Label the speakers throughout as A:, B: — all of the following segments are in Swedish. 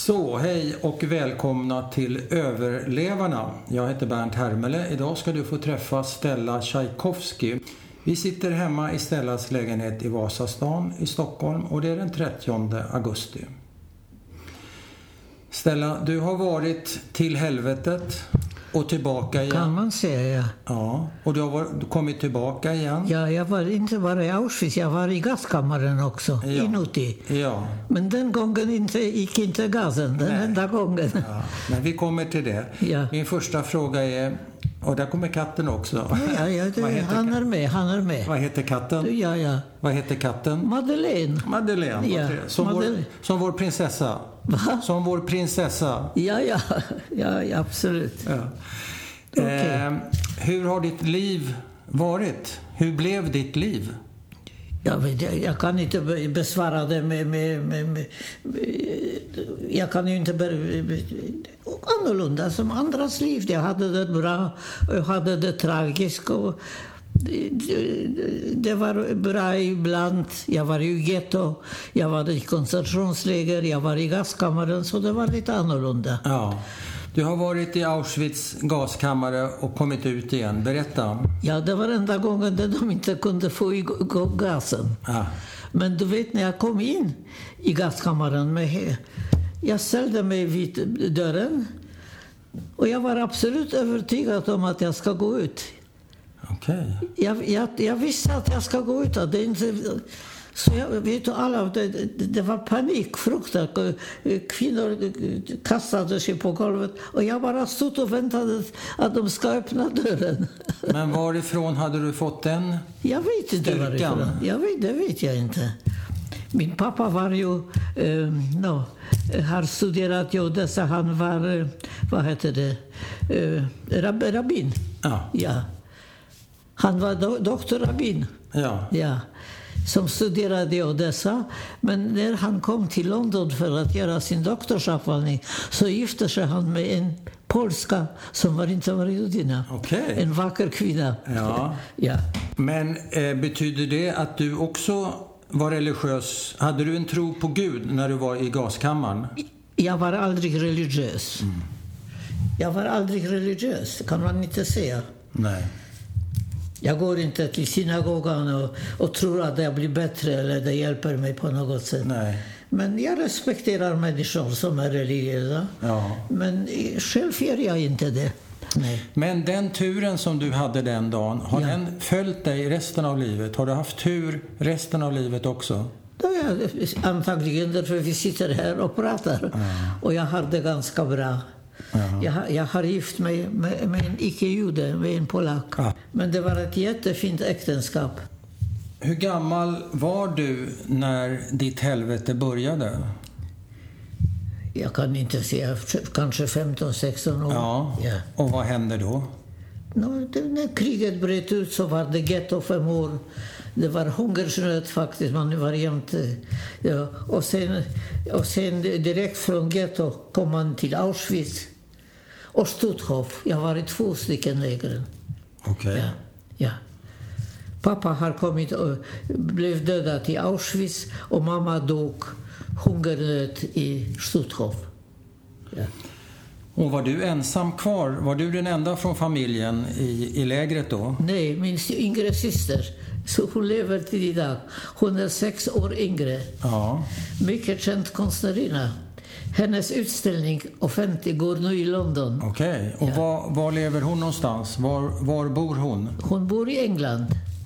A: Så, hej och välkomna till Överlevarna. Jag heter Bernt Hermele. Idag ska du få träffa Stella Tchaikovsky. Vi sitter hemma i Stellas lägenhet i Vasastan i Stockholm och det är den 30 augusti. Stella, du har varit till helvetet och tillbaka
B: Kan
A: igen.
B: man säga.
A: Ja, och du har varit, kommit tillbaka igen.
B: Ja, jag var inte bara i Auschwitz, jag var i gaskammaren också,
A: Ja.
B: inuti.
A: Ja,
B: Men den gången inte, gick inte gasen, den enda gången.
A: ja. Men vi kommer till det.
B: Ja.
A: Min första fråga är, och där kommer katten också.
B: Ja, ja, det,
A: Vad heter
B: han är med, han är med.
A: Vad heter katten?
B: Ja, ja.
A: Vad heter katten?
B: Madeleine.
A: Madeleine.
B: Ja,
A: vad trevligt. Som,
B: Madeleine.
A: Vår, som vår prinsessa.
B: Va?
A: Som vår prinsessa.
B: Ja, ja, ja, ja absolut.
A: Ja.
B: Okej.
A: Eh, hur har ditt liv varit? Hur blev ditt liv?
B: Jag, vet- jag, jag kan inte be- besvara det med, med, med, med, med... Jag kan ju inte... Be, be, annorlunda som andras liv. Jag hade det bra och jag hade det tragiskt. Och det, det- det var bra ibland. Jag var i ghetto, jag var i koncentrationsläger, jag var i gaskammaren, så det var lite annorlunda.
A: Ja. Du har varit i Auschwitz gaskammare och kommit ut igen. Berätta.
B: Ja, det var enda gången där de inte kunde få igång gasen.
A: Ja.
B: Men du vet när jag kom in i gaskammaren med he- Jag ställde mig vid dörren och jag var absolut övertygad om att jag ska gå ut.
A: Okej.
B: Jag, jag, jag visste att jag ska gå ut. att Det är inte, så jag, vet du, alla, det, det det var panik, fruktan. Kvinnor eh, kastade sig på golvet och jag bara stod och väntade att de ska öppna dörren.
A: Men varifrån hade du fått den?
B: Jag vet inte
A: Styrkan.
B: varifrån. Jag vet, det vet jag inte. Min pappa var ju, eh, no, har studerat i Odessa. Han var, eh, vad heter det, eh, rab, rabbin.
A: Ja.
B: Ja. Han var do, doktor rabbin.
A: Ja.
B: Ja, som studerade i Odessa. Men när han kom till London för att göra sin doktorsavhandling så gifte sig han med en polska som var inte var judinna.
A: Okej.
B: En vacker kvinna.
A: Ja.
B: Ja.
A: Men eh, betyder det att du också var religiös? Hade du en tro på Gud när du var i gaskammaren?
B: Jag var aldrig religiös. Jag var aldrig religiös, det kan man inte säga.
A: Nej.
B: Jag går inte till synagogan och, och tror att jag blir bättre eller det hjälper mig på något sätt.
A: Nej.
B: Men jag respekterar människor som är religiösa.
A: Ja.
B: Men eh, själv gör jag inte det. Nej.
A: Men den turen som du hade den dagen, har
B: Ja.
A: den följt dig resten av livet? Har du haft tur resten av livet också?
B: Då är jag antagligen därför vi sitter här och pratar. Och jag har det ganska bra. Jag, har- jag har gift mig med, med en icke-jude, med en polack.
A: Ja.
B: Men det var ett jättefint äktenskap.
A: Hur gammal var du när ditt helvete började?
B: Jag kan inte säga, kanske 15-16 år.
A: Ja.
B: Ja.
A: Och vad hände då?
B: Nå, det, när kriget bröt ut så var det getto fem år. Det var hungersnöd faktiskt, man var jämte. Ja. Och, sen, och sen direkt från getto kom man till Auschwitz och Stutthof. Jag var i två stycken lägren.
A: Okej.
B: Ja, ja. Pappa har kommit och blev dödad i Auschwitz och mamma dog hungernöd i Stutthof. Ja.
A: Och var du ensam kvar? Var du den enda från familjen i, i lägret då?
B: Nej, min yngre syster. Så hon lever till idag. Hon är sex år yngre.
A: Ja.
B: Mycket känd konstnärinna. Hennes utställning offentlig går nu i London.
A: Okej. Och var, var lever hon någonstans? Var, var bor hon?
B: Hon bor i England.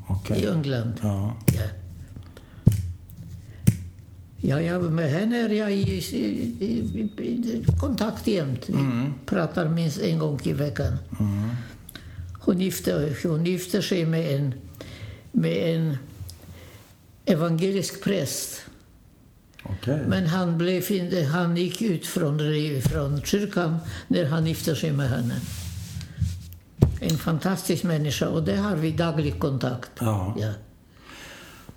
A: Okej.
B: I England.
A: Ja.
B: Ja. Ja, jag, med henne är jag i, i, i, i, i kontakt jämt. Vi pratar minst en gång i veckan. Hon, gifte, hon gifte sig med en, med en evangelisk präst.
A: Okej.
B: Men han, blev, inte- han gick ut från, re- från kyrkan när han gifte sig med henne. En fantastisk människa och det har vi daglig kontakt.
A: Ja.
B: Ja.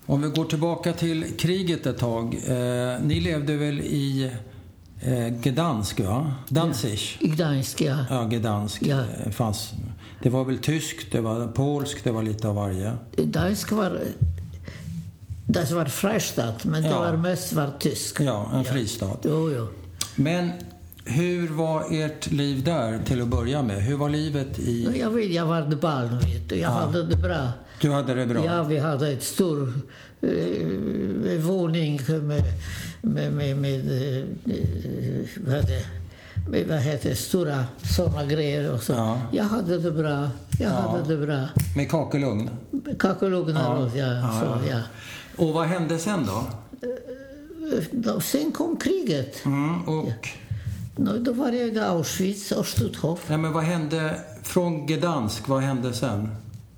A: Om vi går tillbaka till kriget ett tag. Eh, ni levde väl i eh, Gdansk, va? Danzig?
B: I Gdansk, ja.
A: Ja, Gdansk.
B: Ja.
A: eh, Fanns. Det var väl tyskt, det var polskt, det var lite av varje.
B: Dansk var... Det var Freistaat, men
A: Ja.
B: det var mest var tysk.
A: Ja, en fristad.
B: Jo, jo.
A: Men hur var ert liv där till att börja med? Hur var livet i...
B: Jag, vet, jag var barn, vet du. Jag hade det bra.
A: Du hade det bra?
B: Ja, vi hade ett stor eh, våning med, med, med, med, eh, vad, heter det? med vad heter det? stora såna grejer. Och så.
A: Ja.
B: Jag hade det bra. Jag hade det bra.
A: Med kakelugn?
B: Kakelugnar åt jag. Så, ja.
A: Och vad hände sen då?
B: Då- Sen kom kriget.
A: Mm, och...
B: Nå, Då var jag i Auschwitz och Stutthof.
A: Nej, men vad hände från Gdansk? Vad hände sen?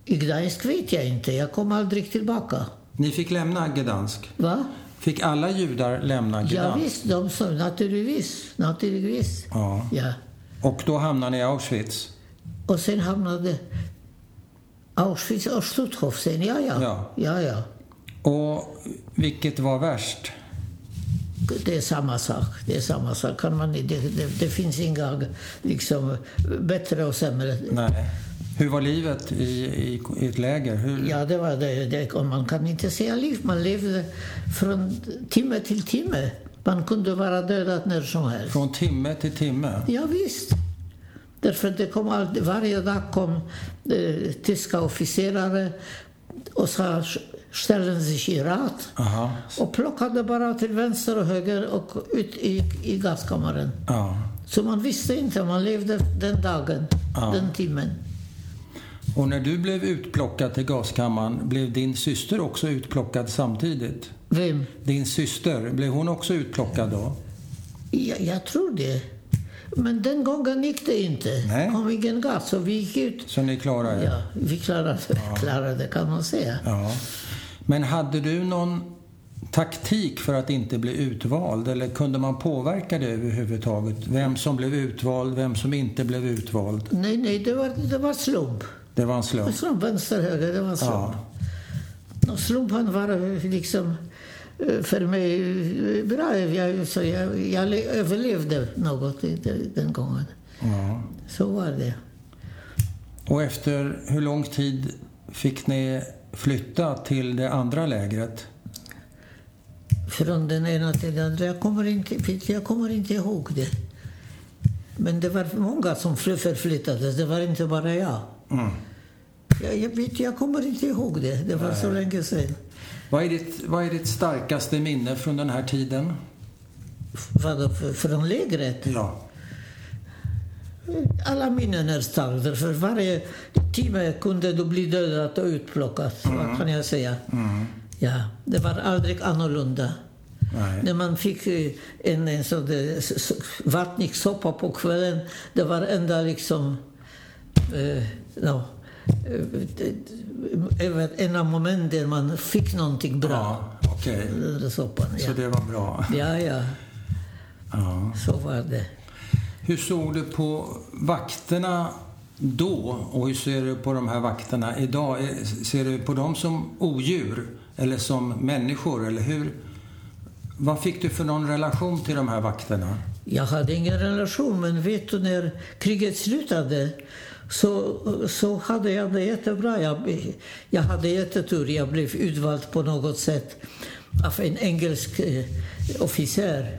B: I Gdansk vet jag inte. Jag kom aldrig tillbaka.
A: Ni fick lämna Gdansk.
B: Va?
A: Fick alla judar lämna
B: Ja,
A: Gdansk?
B: visst, de sa naturligtvis. naturligtvis.
A: Ja.
B: Ja.
A: Och då hamnade ni i Auschwitz?
B: Och sen hamnade Auschwitz och Stutthof sen. Ja, ja.
A: Ja.
B: ja, ja.
A: Och vilket var värst?
B: Det är samma sak. Det är samma sak. Kan man, inte- det, det, det finns inga liksom, bättre och sämre.
A: Nej. Hur var livet i, i, i ett läger? Hur...
B: Ja, det var det. det. Och man kan inte säga liv. Man levde från timme till timme. Man kunde vara dödad när som helst.
A: Från timme till timme?
B: Ja, visst. Därför det kom all, varje dag kom eh, tyska officerare och sa ställen sig i rad
A: Aha.
B: och plockade bara till vänster och höger och ut i, i gaskammaren.
A: Ja.
B: Så man visste inte, man levde den dagen, den timmen.
A: Och när du blev utplockad till gaskammaren, blev din syster också utplockad samtidigt?
B: Vem?
A: Din syster, blev hon också utplockad då?
B: Jag, jag tror det. Men den gången gick det inte.
A: Nej.
B: kom ingen gas, så vi gick ut.
A: Så ni klarade er?
B: Ja, vi klarade, klarade det, kan man säga.
A: Ja. Men hade du någon taktik för att inte bli utvald? Eller kunde man påverka det överhuvudtaget? Vem som blev utvald, vem som inte blev utvald?
B: Nej, nej, det var, det var slump.
A: Det var en slump.
B: Slump vänster, höger, det var slump.
A: Ja.
B: Och slumpen var eh, liksom eh, för mig eh, bra. Jag, så jag, jag le- överlevde något i de- den gången.
A: Ja.
B: Så var det.
A: Och efter hur lång tid fick ni flytta till det andra lägret?
B: Från den ena till den andra. Jag kommer inte, jag kommer inte ihåg det. Men det var många som fly- förflyttades. Det var inte bara jag.
A: Mm.
B: Jag, jag, vet, jag kommer inte ihåg det. Det var så länge sedan.
A: Vad är, ditt, vad är ditt starkaste minne från den här tiden?
B: Vadå, f- från lägret?
A: Ja.
B: Alla minnen är starka, för varje timme kunde du bli dödad och utplockad. Vad kan jag säga? Ja, det var aldrig annorlunda.
A: Nej.
B: När man fick eh, en, en sån där s- s- vattningssoppa på kvällen, det var enda liksom... Eh, no, eh, det- det- över ena moment där man fick någonting bra.
A: Ja, okej.
B: Den där soppan, ja.
A: Så det var bra.
B: ja, ja,
A: Ja.
B: så var det.
A: Hur såg du på vakterna då och hur ser du på de här vakterna idag? Är- Ser du på dem som odjur eller som människor? Eller hur? Vad fick du för någon relation till de här vakterna?
B: Jag hade ingen relation, men vet du, när kriget slutade så, så hade jag det jättebra. Jag, jag hade jättetur. Jag blev utvald på något sätt av en engelsk eh, officer.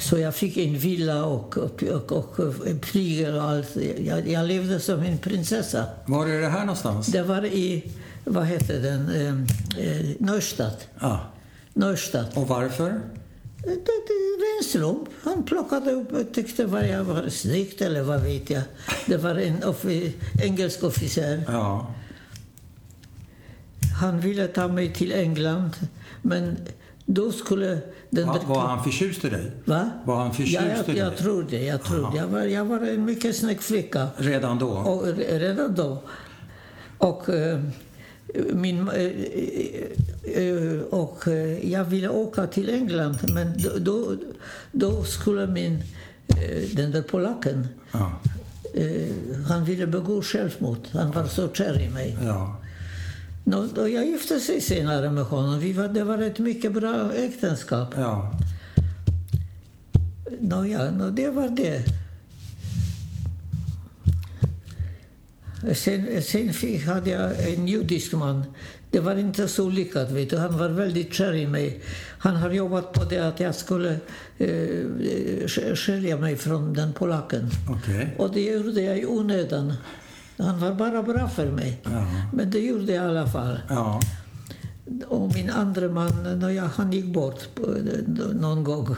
B: Så jag fick en villa och, och, och, och en prygel och allt. Jag, jag levde som en prinsessa.
A: Var är det här någonstans?
B: Det var i, vad hette den, eh, eh, Neustadt.
A: Ja.
B: Neustadt.
A: Och varför?
B: Det, det var en slump. Han plockade upp och tyckte vad jag var snyggt eller vad vet jag. Det var en offi- engelsk officer.
A: Ja.
B: Han ville ta mig till England, men då skulle den
A: Va-
B: där...
A: Var han förtjust i dig?
B: Va?
A: Var han förtjust
B: ja,
A: i
B: jag,
A: dig?
B: jag tror det. Jag, tror det. jag, var, jag var en mycket snygg flicka.
A: Redan då?
B: Och re- redan då. Och eh, min... eh, eh, eh, Och eh, jag ville åka till England men då- då, då skulle min... eh, Den där polacken,
A: Ja.
B: eh, han ville begå självmord. Han var så kär i mig.
A: ja.
B: Nå, då jag gifte sig senare med honom. Vi var, det var ett mycket bra äktenskap.
A: ja.
B: Nå, ja, nå, det var det. Sen, sen fick, hade jag en judisk man Det var inte så lyckat. Vet du. Han var väldigt kär i mig. Han har jobbat på det att jag skulle eh, skilja mig från den polacken.
A: Okej.
B: Och det gjorde jag i onödan. Han var bara bra för mig.
A: Ja.
B: Men det gjorde jag i alla fall.
A: Ja.
B: Och No, min andra man, no, ja, han gick bort på, eh, någon gång.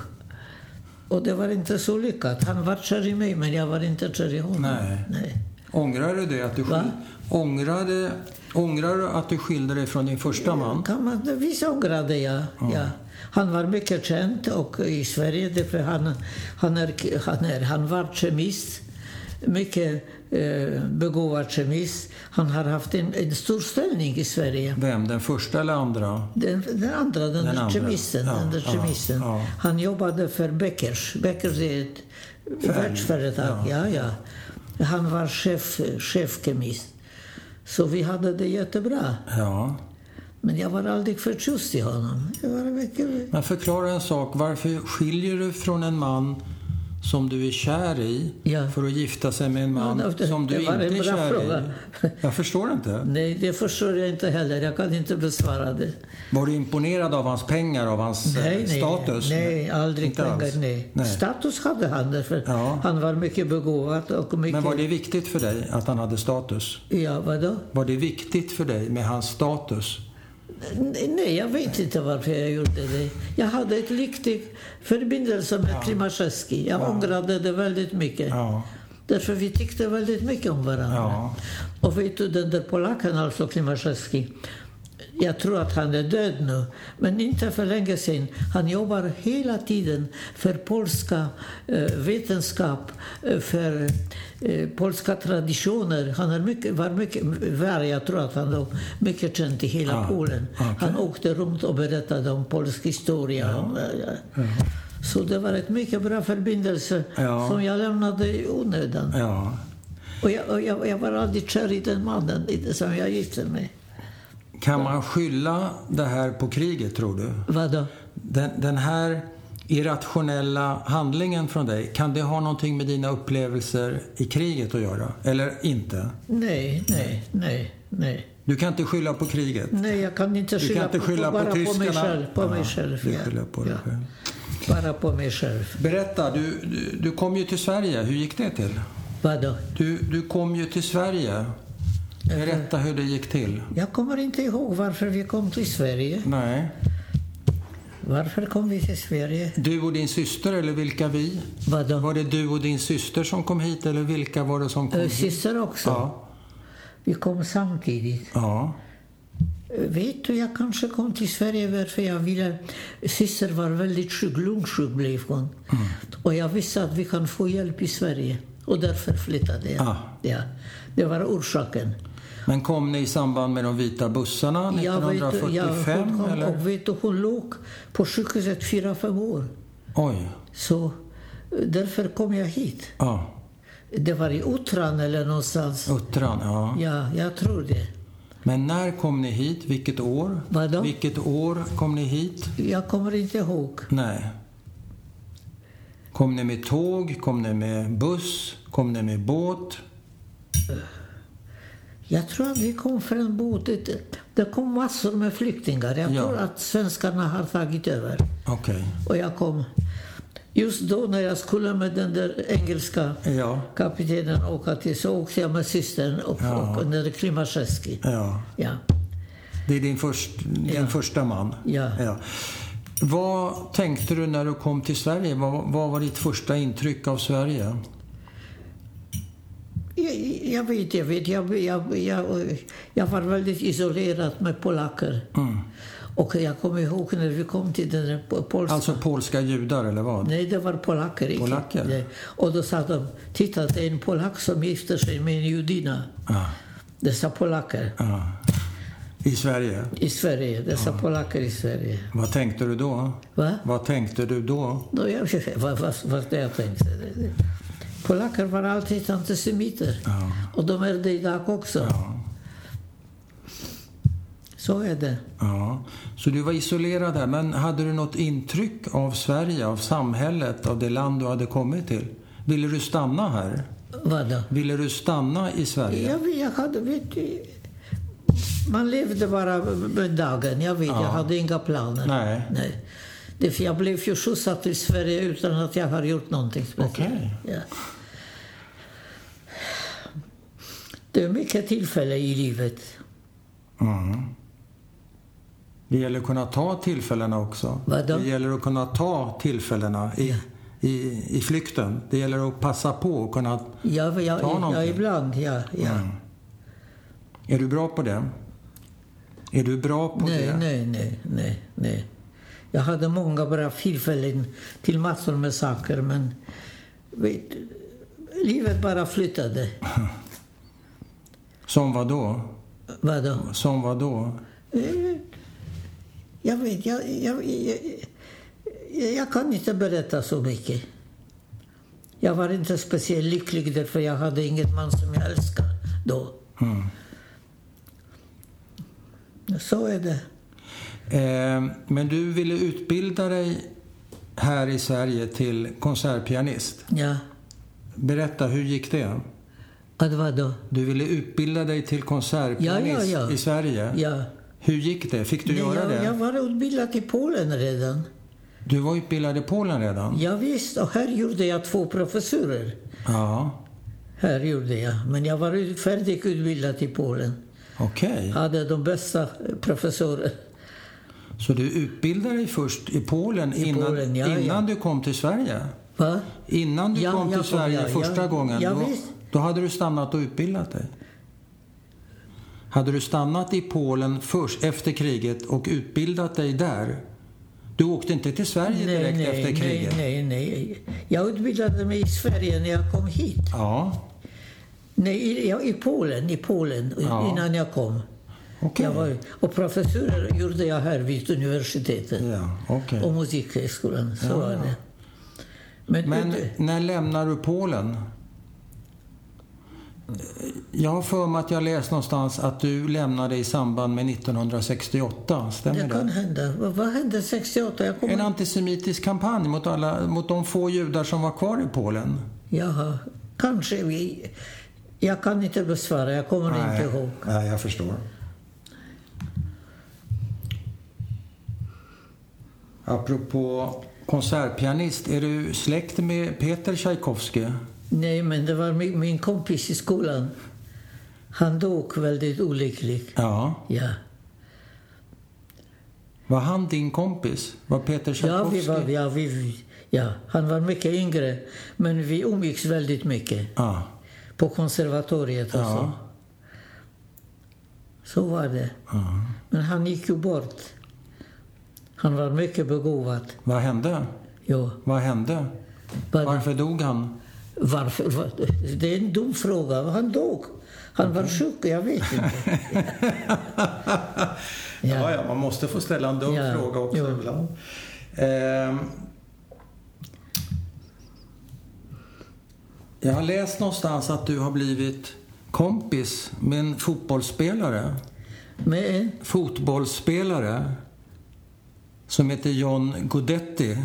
B: Och det var inte så lyckat. Han var kär i mig, men jag var inte kär i honom.
A: Nej.
B: Nej.
A: Ångrar du det? Att du
B: Va?
A: skil... ångrade... Ångrar du att du skilde dig från din första man?
B: Kan man, visst ångrade jag. Ja. Han var mycket känd och i Sverige. Därför han, han, är, han, är, han var kemist. Mycket eh, begåvad kemist. Han har haft en, en stor ställning i Sverige.
A: Vem? Den första eller andra?
B: Den, den andra, den,
A: Den
B: där
A: andra.
B: kemisten.
A: Ja,
B: den där
A: ja,
B: kemisten.
A: ja.
B: Han jobbade för Beckers. Beckers är ett världsföretag. Ja. Ja, Han var chef, chefkemist. Så vi hade det jättebra.
A: Ja.
B: Men jag var aldrig förtjust i honom. Jag var mycket...
A: Men förklara en sak. Varför skiljer du från en man som du är kär i
B: Ja.
A: för att gifta sig med en man
B: Ja, det-
A: som du
B: det
A: inte
B: var en
A: är
B: bra
A: kär
B: fråga.
A: i? Jag förstår inte.
B: Nej, det förstår jag inte heller. Jag kan inte besvara det.
A: Var du imponerad av hans pengar, av hans eh,
B: Nej, nej,
A: status?
B: nej aldrig
A: Inte alls.
B: pengar. Nej.
A: Nej.
B: Status hade han, därför
A: Ja.
B: han var mycket begåvad och mycket...
A: Men var det viktigt för dig att han hade status?
B: Ja, vadå?
A: Var det viktigt för dig med hans status?
B: Nej, nej, jag vet inte varför jag gjorde det. Jag hade ett lycklig förbindelse med Klimaszewski. Jag ångrade det väldigt mycket.
A: Ja.
B: Därför vi tyckte väldigt mycket om varandra.
A: Ja.
B: Och vet du, den där polacken, alltså Klimaszewski, jag tror att han är död nu, men inte för länge sedan. Han jobbar hela tiden för polska eh, vetenskap, eh, för eh, polska traditioner. Han är mycket, var mycket, var, jag tror att han var mycket känd i hela
A: Ah,
B: Polen.
A: okej.
B: Han åkte runt och berättade om polsk historia. Om, eh, ja. Så det var ett mycket bra förbindelse
A: Ja.
B: som jag lämnade i onödan.
A: Ja.
B: Och jag, och jag, jag var aldrig kär i den mannen i det som jag gifte mig
A: Kan man skylla det här på kriget, tror du?
B: Vadå?
A: Den, den här irrationella handlingen från dig, kan det ha någonting med dina upplevelser i kriget att göra? Eller inte?
B: Nej, nej, nej, nej.
A: Du kan inte skylla på kriget?
B: Nej, jag kan inte
A: Du
B: skylla,
A: kan inte skylla på,
B: bara på mig
A: tyskarna?
B: själv. På
A: Ja,
B: mig själv
A: Du
B: ja.
A: skyller på dig
B: ja.
A: själv.
B: Bara på mig själv.
A: Berätta, du, du, du kom ju till Sverige. Hur gick det till?
B: Vadå?
A: Du, du kom ju till Sverige. Berätta hur det gick till.
B: Jag kommer inte ihåg varför vi kom till Sverige.
A: Nej.
B: Varför kom vi till Sverige?
A: Du och din syster, eller vilka vi?
B: Vadå?
A: Var det du och din syster som kom hit, eller vilka var det som kom
B: Eh,
A: hit?
B: Syster också.
A: Ja.
B: Vi kom samtidigt.
A: ja.
B: Eh, Vet du, jag kanske kom till Sverige varför jag ville... Syster var väldigt sjuk, lungsjuk blev hon. Och jag visste att vi kan få hjälp i Sverige. Och därför flyttade jag.
A: Ah.
B: Ja. Det var orsaken.
A: Men kom ni i samband med de vita bussarna
B: Jag vet, du,
A: 1945?
B: jag, hon kom
A: eller?
B: och vet du, hon låg på sjukhuset fyra, fem år.
A: Oj.
B: Så eh, därför kom jag hit.
A: Ja.
B: Det var i Uttran eller
A: Oh.
B: någonstans.
A: Uttran, ja.
B: Ja, jag tror det.
A: Men när kom ni hit? Vilket år?
B: Vadå?
A: Vilket år kom ni hit?
B: Jag kommer inte ihåg.
A: Nej. Kom ni med tåg? Kom ni med buss? Kom ni med båt?
B: Jag tror att vi kom från båtet. Det kom massor med flyktingar. Jag
A: Ja.
B: tror att svenskarna har tagit över.
A: Okej.
B: Och jag kom just då när jag skulle med den där engelska
A: Ja.
B: kaptenen åka till så åkte jag med systern och, och den där Klimaszewski.
A: Ja.
B: Ja.
A: Det är din, först, din första man?
B: Ja.
A: Vad tänkte du när du kom till Sverige? Vad, vad var ditt första intryck av Sverige?
B: Jag, jag vet, jag vet. Jag, jag, jag, jag var väldigt isolerad med polacker.
A: Mm.
B: Och jag kommer ihåg när vi kom till den där po- polska...
A: Alltså polska judar eller vad?
B: Nej, det var polacker. inte-
A: Polacker?
B: Nej. Och då sa de, titta det är en polack som gifter sig med en judinna.
A: Ja.
B: Dessa polacker
A: ja. I Sverige?
B: i Sverige. Dessa polacker i Sverige.
A: Vad tänkte du då?
B: Va?
A: Vad tänkte du då?
B: Då jag, vad, vad, vad det jag tänkte. Polacker var alltid antisemiter.
A: Ja.
B: Och de är det idag också.
A: Ja.
B: Så är det.
A: ja. Så du var isolerad där, men hade du något intryck av Sverige, av samhället, av det land du hade kommit till? Ville du stanna här?
B: Vadå?
A: Ville du stanna i Sverige?
B: Jag, vet- jag hade, vet, Man levde bara med dagen. Jag vet,
A: Ja.
B: jag hade inga planer.
A: Nej.
B: Nej. Det- Jag blev ju skjutsad till Sverige utan att jag har gjort någonting speciellt.
A: Okej.
B: Ja. Det är mycket tillfällen i livet.
A: Mm. Det gäller att kunna ta tillfällena också.
B: Vadå?
A: Det gäller att kunna ta tillfällena i, i, i flykten. Det gäller att passa på och kunna...
B: Ja, ja,
A: Ta
B: ja
A: någonting. Mm,
B: ibland. Ja, ja.
A: Är du bra på det? Är du bra på
B: Nej,
A: det?
B: nej, nej, nej, nej. Jag hade många bra tillfällen till massor med saker, men vet, livet bara flyttade.
A: Som vad då?
B: Vadå?
A: Som vad då?
B: Eh, Jag vet, jag, jag, jag, jag kan inte berätta så mycket. Jag var inte speciellt lycklig därför jag hade ingen man som jag älskade då.
A: Mm.
B: Så är det.
A: Eh, men du ville utbilda dig här i Sverige till konsertpianist.
B: Ja.
A: Berätta, hur gick det?
B: Att vadå?
A: Du ville utbilda dig till konsertpianist
B: Ja, ja, ja.
A: i Sverige.
B: Ja.
A: Hur gick det? Fick du
B: Nej,
A: göra
B: jag,
A: det?
B: jag var utbildad i Polen redan.
A: Du var utbildad i Polen redan?
B: Ja, visst, och här gjorde jag två professurer.
A: Ja,
B: Här gjorde jag. Men jag var ut- färdigutbildad i Polen.
A: okej.
B: Hade de bästa eh, professorer.
A: Så du utbildade dig först i Polen innan,
B: Polen, ja, ja.
A: innan du kom till Sverige?
B: Va?
A: Innan du
B: Ja,
A: kom till
B: jag kom,
A: Sverige
B: ja,
A: första
B: ja,
A: gången,
B: ja,
A: då,
B: visst.
A: då hade du stannat och utbildat dig? Hade du stannat i Polen först efter kriget och utbildat dig där? Du åkte inte till Sverige direkt efter kriget?
B: nej, nej, nej. Jag utbildade mig i Sverige när jag kom hit.
A: Ja,
B: Nej, i, ja, i Polen, i Polen i-
A: Ja.
B: innan jag kom.
A: okej.
B: Jag var, och professurer gjorde jag här vid universitetet
A: Ja, okej.
B: och musikhögskolan. Så
A: Ja,
B: var
A: ja.
B: det. Men,
A: Men
B: ut-
A: när lämnar du Polen? Jag har för mig att jag läst någonstans att du lämnade i samband med 1968. Stämmer
B: det
A: det?
B: kan hända. Vad, vad hände 68? Jag kommer
A: En antisemitisk kampanj mot, alla, mot de få judar som var kvar i Polen.
B: Jaha, kanske vi... Jag kan inte besvara, jag kommer inte ihåg.
A: Nej, jag förstår. Apropå konsertpianist, är du släkt med Peter Tchaikovsky?
B: Nej, men det var min, min kompis i skolan. Han dog väldigt olycklig.
A: Ja.
B: Ja,
A: Var han din kompis? Var Peter
B: ja,
A: Tchaikovsky?
B: vi var, ja, vi- vi, ja, han var mycket yngre, men vi umgicks väldigt mycket
A: Ja.
B: på konservatoriet och så.
A: Ja.
B: Så var det.
A: ja.
B: Men han gick ju bort. Han var mycket begåvad.
A: Vad hände?
B: Jo,
A: Vad hände?
B: bara-
A: Varför dog han?
B: Varför? var- Det är en dum fråga. Han dog. Han var sjuk, jag vet inte. ja.
A: man måste få ställa en dum
B: Ja, fråga också jo.
A: ibland. Ehm. jag har läst någonstans att du har blivit kompis med en fotbollsspelare.
B: Men,
A: Fotbollsspelare som heter John Guidetti.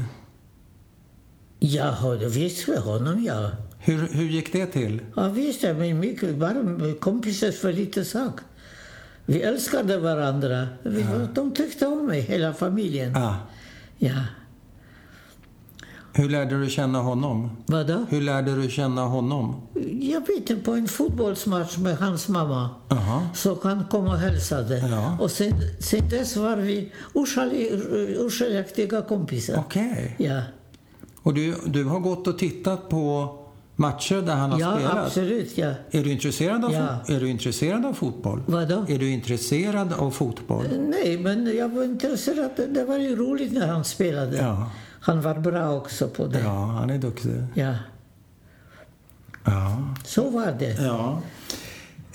B: jag har visst med honom, ja.
A: Hur, hur gick det till?
B: ja visst, jag men mycket bara kompisar för lite sak. Vi älskade varandra. Vi, De tyckte om mig, hela familjen.
A: Ah,
B: Ja.
A: hur lärde du känna honom?
B: Vadå?
A: Hur lärde du känna honom?
B: Jag vet inte, på en fotbollsmatch med hans mamma.
A: Aha.
B: Så han kom och hälsade.
A: Ja.
B: Och sen, sen dess var vi oskilj- oskiljaktiga kompisar.
A: Okej.
B: Ja,
A: Och du, du har gått och tittat på matcher där han har
B: ja
A: spelat?
B: absolut. Ja.
A: Är du, intresserad av
B: Ja.
A: fot- är du intresserad av fotboll?
B: Vadå?
A: Är du intresserad av fotboll?
B: Nej, men jag var intresserad. Det var ju roligt när han spelade.
A: Ja.
B: Han var bra också på det.
A: Ja, han är duktig.
B: Ja,
A: Ja.
B: så var det.
A: ja.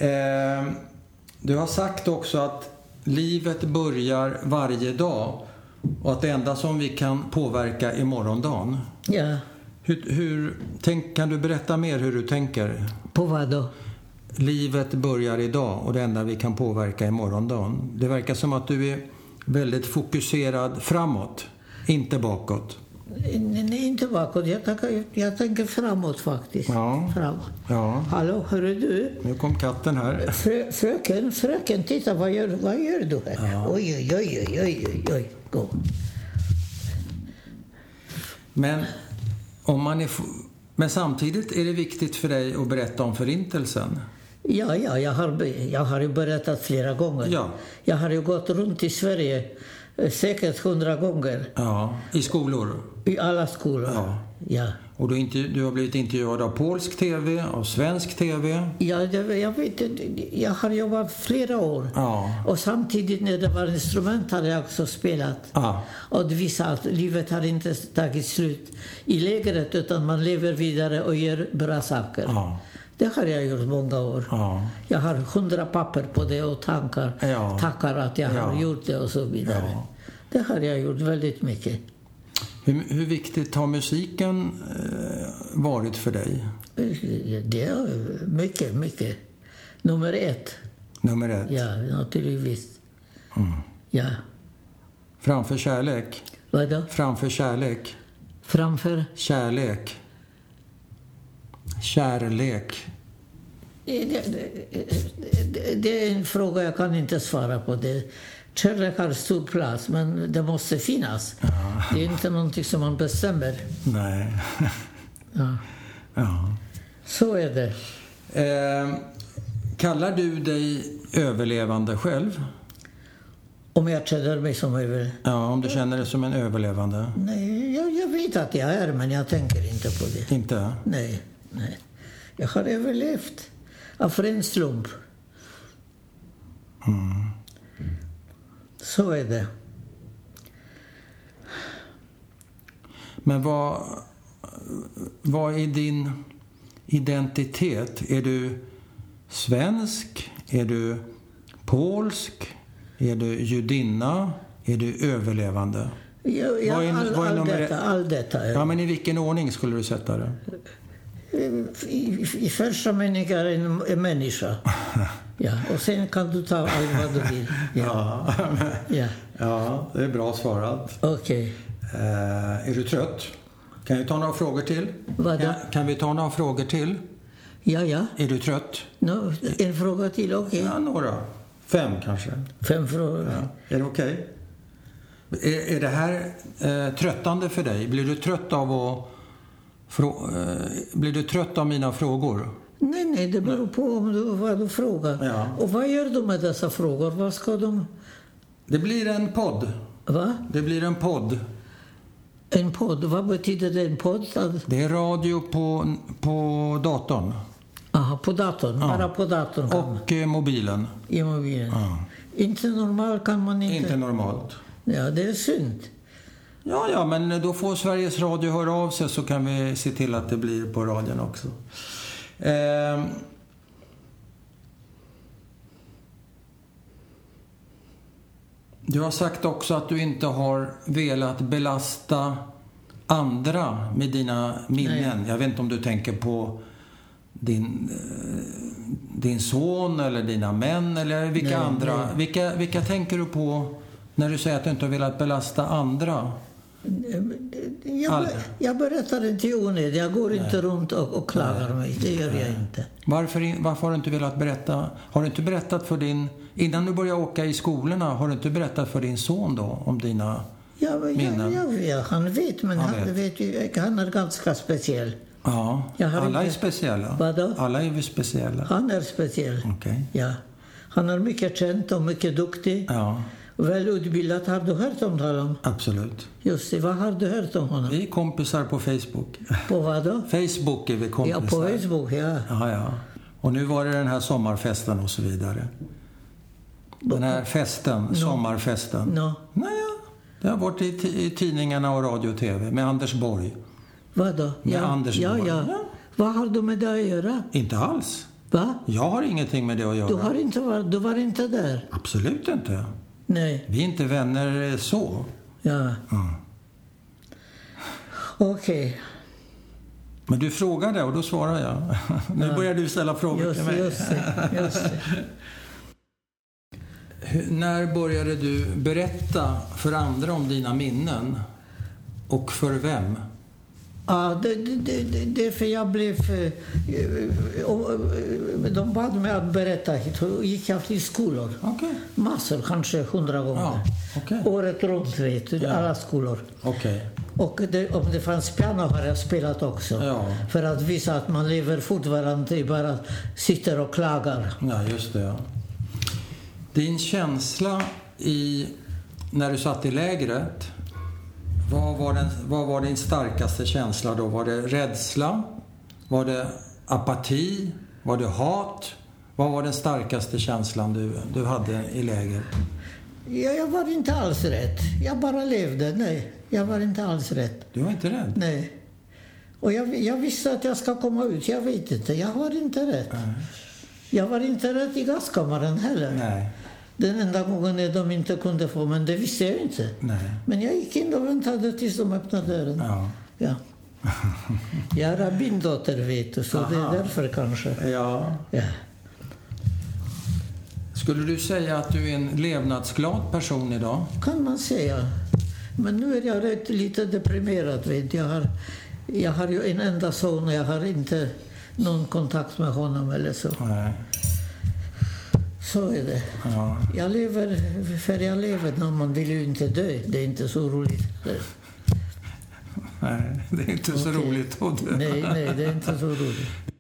A: Eh, du har sagt också att livet börjar varje dag och att det enda som vi kan påverka är morgondagen.
B: Ja.
A: Hur, hur, tänk, kan du berätta mer hur du tänker?
B: På vad då?
A: Livet börjar idag och det enda vi kan påverka är morgondagen. Det verkar som att du är väldigt fokuserad framåt, inte bakåt.
B: Nej, inte bakåt. Jag, tänker- jag tänker framåt faktiskt.
A: Ja.
B: Framåt.
A: Ja,
B: Hallå, hörru du?
A: nu kom katten här.
B: Frö, fröken, fröken, titta vad gör, vad gör du här? Oj, oj, oj, oj, oj, oj, oj. Gå.
A: Men, om man är f- Men samtidigt är det viktigt för dig att berätta om Förintelsen.
B: Ja, ja, jag har, jag har ju berättat flera gånger.
A: Ja.
B: Jag har ju gått runt i Sverige eh, säkert hundra gånger
A: Ja, i skolor.
B: i alla skolor.
A: Ja.
B: Ja.
A: Och du, har intervju- du har blivit intervjuad av polsk TV, av svensk TV.
B: Ja, det, jag vet inte. Jag har jobbat flera år.
A: Ja.
B: Och samtidigt när det var instrument hade jag också spelat.
A: Ja.
B: Och det visar att livet har inte tagit slut i lägret utan man lever vidare och gör bra saker.
A: Ja.
B: Det har jag gjort många år.
A: Ja.
B: Jag har hundra papper på det och tankar.
A: Ja.
B: Tackar att jag
A: Ja.
B: har gjort det och så vidare.
A: Ja.
B: Det har jag gjort väldigt mycket.
A: Hur, hur viktigt har musiken eh, varit för dig?
B: Det är mycket, mycket. Nummer ett.
A: Nummer ett.
B: Ja, naturligtvis.
A: Mm.
B: Ja.
A: Framför kärlek.
B: Vadå?
A: Framför kärlek.
B: Framför?
A: Kärlek. Kärlek.
B: Eh, Det, det, det är en fråga jag kan inte svara på. Det, kärlek har stor plats, men det måste finnas. Det är inte någonting som man bestämmer.
A: Nej.
B: Ja.
A: ja.
B: Så är det.
A: Eh, kallar du dig överlevande själv?
B: Om jag känner mig som jag vill.
A: Ja, om du känner dig som en överlevande?
B: Nej, jag, jag vet att jag är, men jag tänker inte på det.
A: Inte?
B: Nej, nej. Jag har överlevt av ren slump.
A: Mm.
B: Så är det.
A: Men vad, vad är din identitet? Är du svensk? Är du polsk? Är du judinna? Är du överlevande?
B: Jag, jag,
A: Vad är-
B: all,
A: vad är
B: all,
A: nummer
B: detta,
A: ett?
B: all detta är
A: Ja, men i vilken ordning skulle du sätta det?
B: I, i första meningen är en, en människa. Ja, och sen kan du ta allt vad du vill. Ja,
A: Ja,
B: ja.
A: ja det är bra svarat.
B: okej.
A: Eh, är du trött? Kan vi ta några frågor till?
B: Vadå?
A: Kan, kan vi ta några frågor till?
B: Ja, ja.
A: Är du trött?
B: Nå, en fråga till, okej.
A: Ja, några. Fem kanske.
B: Fem frågor.
A: Ja. Är det okej? Är, är det här eh, tröttande för dig? Blir du trött av att... Frå, eh, blir du trött av mina frågor?
B: Nej, nej, det beror på om du, vad du frågar.
A: Ja.
B: Och vad gör du med dessa frågor? Vad ska de...
A: Det blir en podd.
B: Va?
A: Det blir en podd.
B: En podd? Vad betyder det? En podd? Att-
A: Det är radio på, på datorn
B: Aha, på datorn. Bara på datorn. kan-
A: och eh, mobilen.
B: I mobilen. Inte normal kan man inte...
A: Inte normalt.
B: Ja, det är synd.
A: Ja, ja, men då får Sveriges Radio höra av sig så kan vi se till att det blir på radion också. Ehm. Du har sagt också att du inte har velat belasta andra med dina minnen. Jag vet inte om du tänker på din, eh, din son eller dina män eller vilka
B: Nej,
A: andra.
B: nej.
A: Vilka, vilka tänker du på när du säger att du inte har velat belasta andra?
B: Jag,
A: Aldrig.
B: jag berättar inte i onödan. Jag går inte runt och, och klagar mig. Det gör jag inte.
A: Varför, i- varför har du inte velat berätta? Har du inte berättat för din... Innan du började åka i skolorna, har du inte berättat för din son då om dina...
B: Jag, jag,
A: Minnen.
B: jag, vet- han vet, men
A: Han
B: han, vet. ju- han är ganska speciell.
A: Ja,
B: Jag har
A: alla är
B: inte-
A: speciella.
B: Vadå?
A: Alla är väl speciella.
B: Han är speciell.
A: Okej.
B: Ja. Han är mycket känd och mycket duktig.
A: Ja,
B: Välutbildad. Har du hört om honom?
A: absolut.
B: Just det, vad har du hört om honom?
A: Vi är kompisar på Facebook.
B: På vad då?
A: Facebook är vi
B: Ja,
A: kompisar.
B: på Facebook, ja.
A: Ja, ja. Och nu var det den här sommarfesten och så vidare. Den här festen, sommarfesten.
B: No.
A: Naja, det har varit i, ti- i tidningarna och radio och TV med Anders Borg.
B: Vad då?
A: Med
B: ja.
A: Anders
B: ja,
A: Borg.
B: ja.
A: Ja.
B: Vad har du med det att göra?
A: Inte alls.
B: Va?
A: Jag har ingenting med det att göra.
B: Du, har inte varit, du var inte där?
A: Absolut inte.
B: Nej.
A: Vi är inte vänner eh, så. Mm.
B: Ja. Okej,
A: Men du frågade och då svarade jag. Nu börjar du ställa frågor till
B: just,
A: mig.
B: just det. Just det.
A: Hur- När började du berätta för andra om dina minnen? Och för vem?
B: Ja, det, det, det, det är för jag blev... eh, och, eh, De bad mig att berätta hit. Och gick jag till skolor.
A: Okej.
B: Massor, kanske hundra gånger.
A: Ja, okej.
B: Året runt, vet du. Alla skolor.
A: Okej.
B: Och det, om det fanns piano har jag spelat också.
A: Ja.
B: För att visa att man lever fortfarande, bara sitter och klagar.
A: Ja, just det. Ja. Din känsla i, när du satt i lägret, vad var, den, vad var din starkaste känsla då? Var det rädsla? Var det apati? Var det hat? Vad var den starkaste känslan du, du hade i lägret?
B: Ja, jag var inte alls rätt. Jag bara levde. Nej, jag var inte alls rätt.
A: Du var inte rädd?
B: Nej. Och jag, jag visste att jag ska komma ut. Jag vet inte. Jag var inte rätt. Jag var inte rätt i gaskammaren heller.
A: Nej.
B: Den enda gången de inte kunde få, men det visste jag inte.
A: Nej.
B: Men jag gick in och väntade tills de öppnade dörren.
A: Ja.
B: Ja. Jag är rabbindotter, vet du, så det
A: Aha.
B: är därför kanske.
A: ja.
B: Ja.
A: Skulle du säga att du är en levnadsglad person idag?
B: kan man säga. Men nu är jag rätt, lite deprimerad. Vet. du. Jag, har, jag har ju en enda son och jag har inte någon kontakt med honom eller så.
A: Nej.
B: Så är det.
A: Ja.
B: Jag lever för jag lever. No, man vill ju inte dö. Det är inte så roligt.
A: Nej, det är inte så
B: Okej.
A: roligt. Odd.
B: Nej, nej, det är inte så roligt.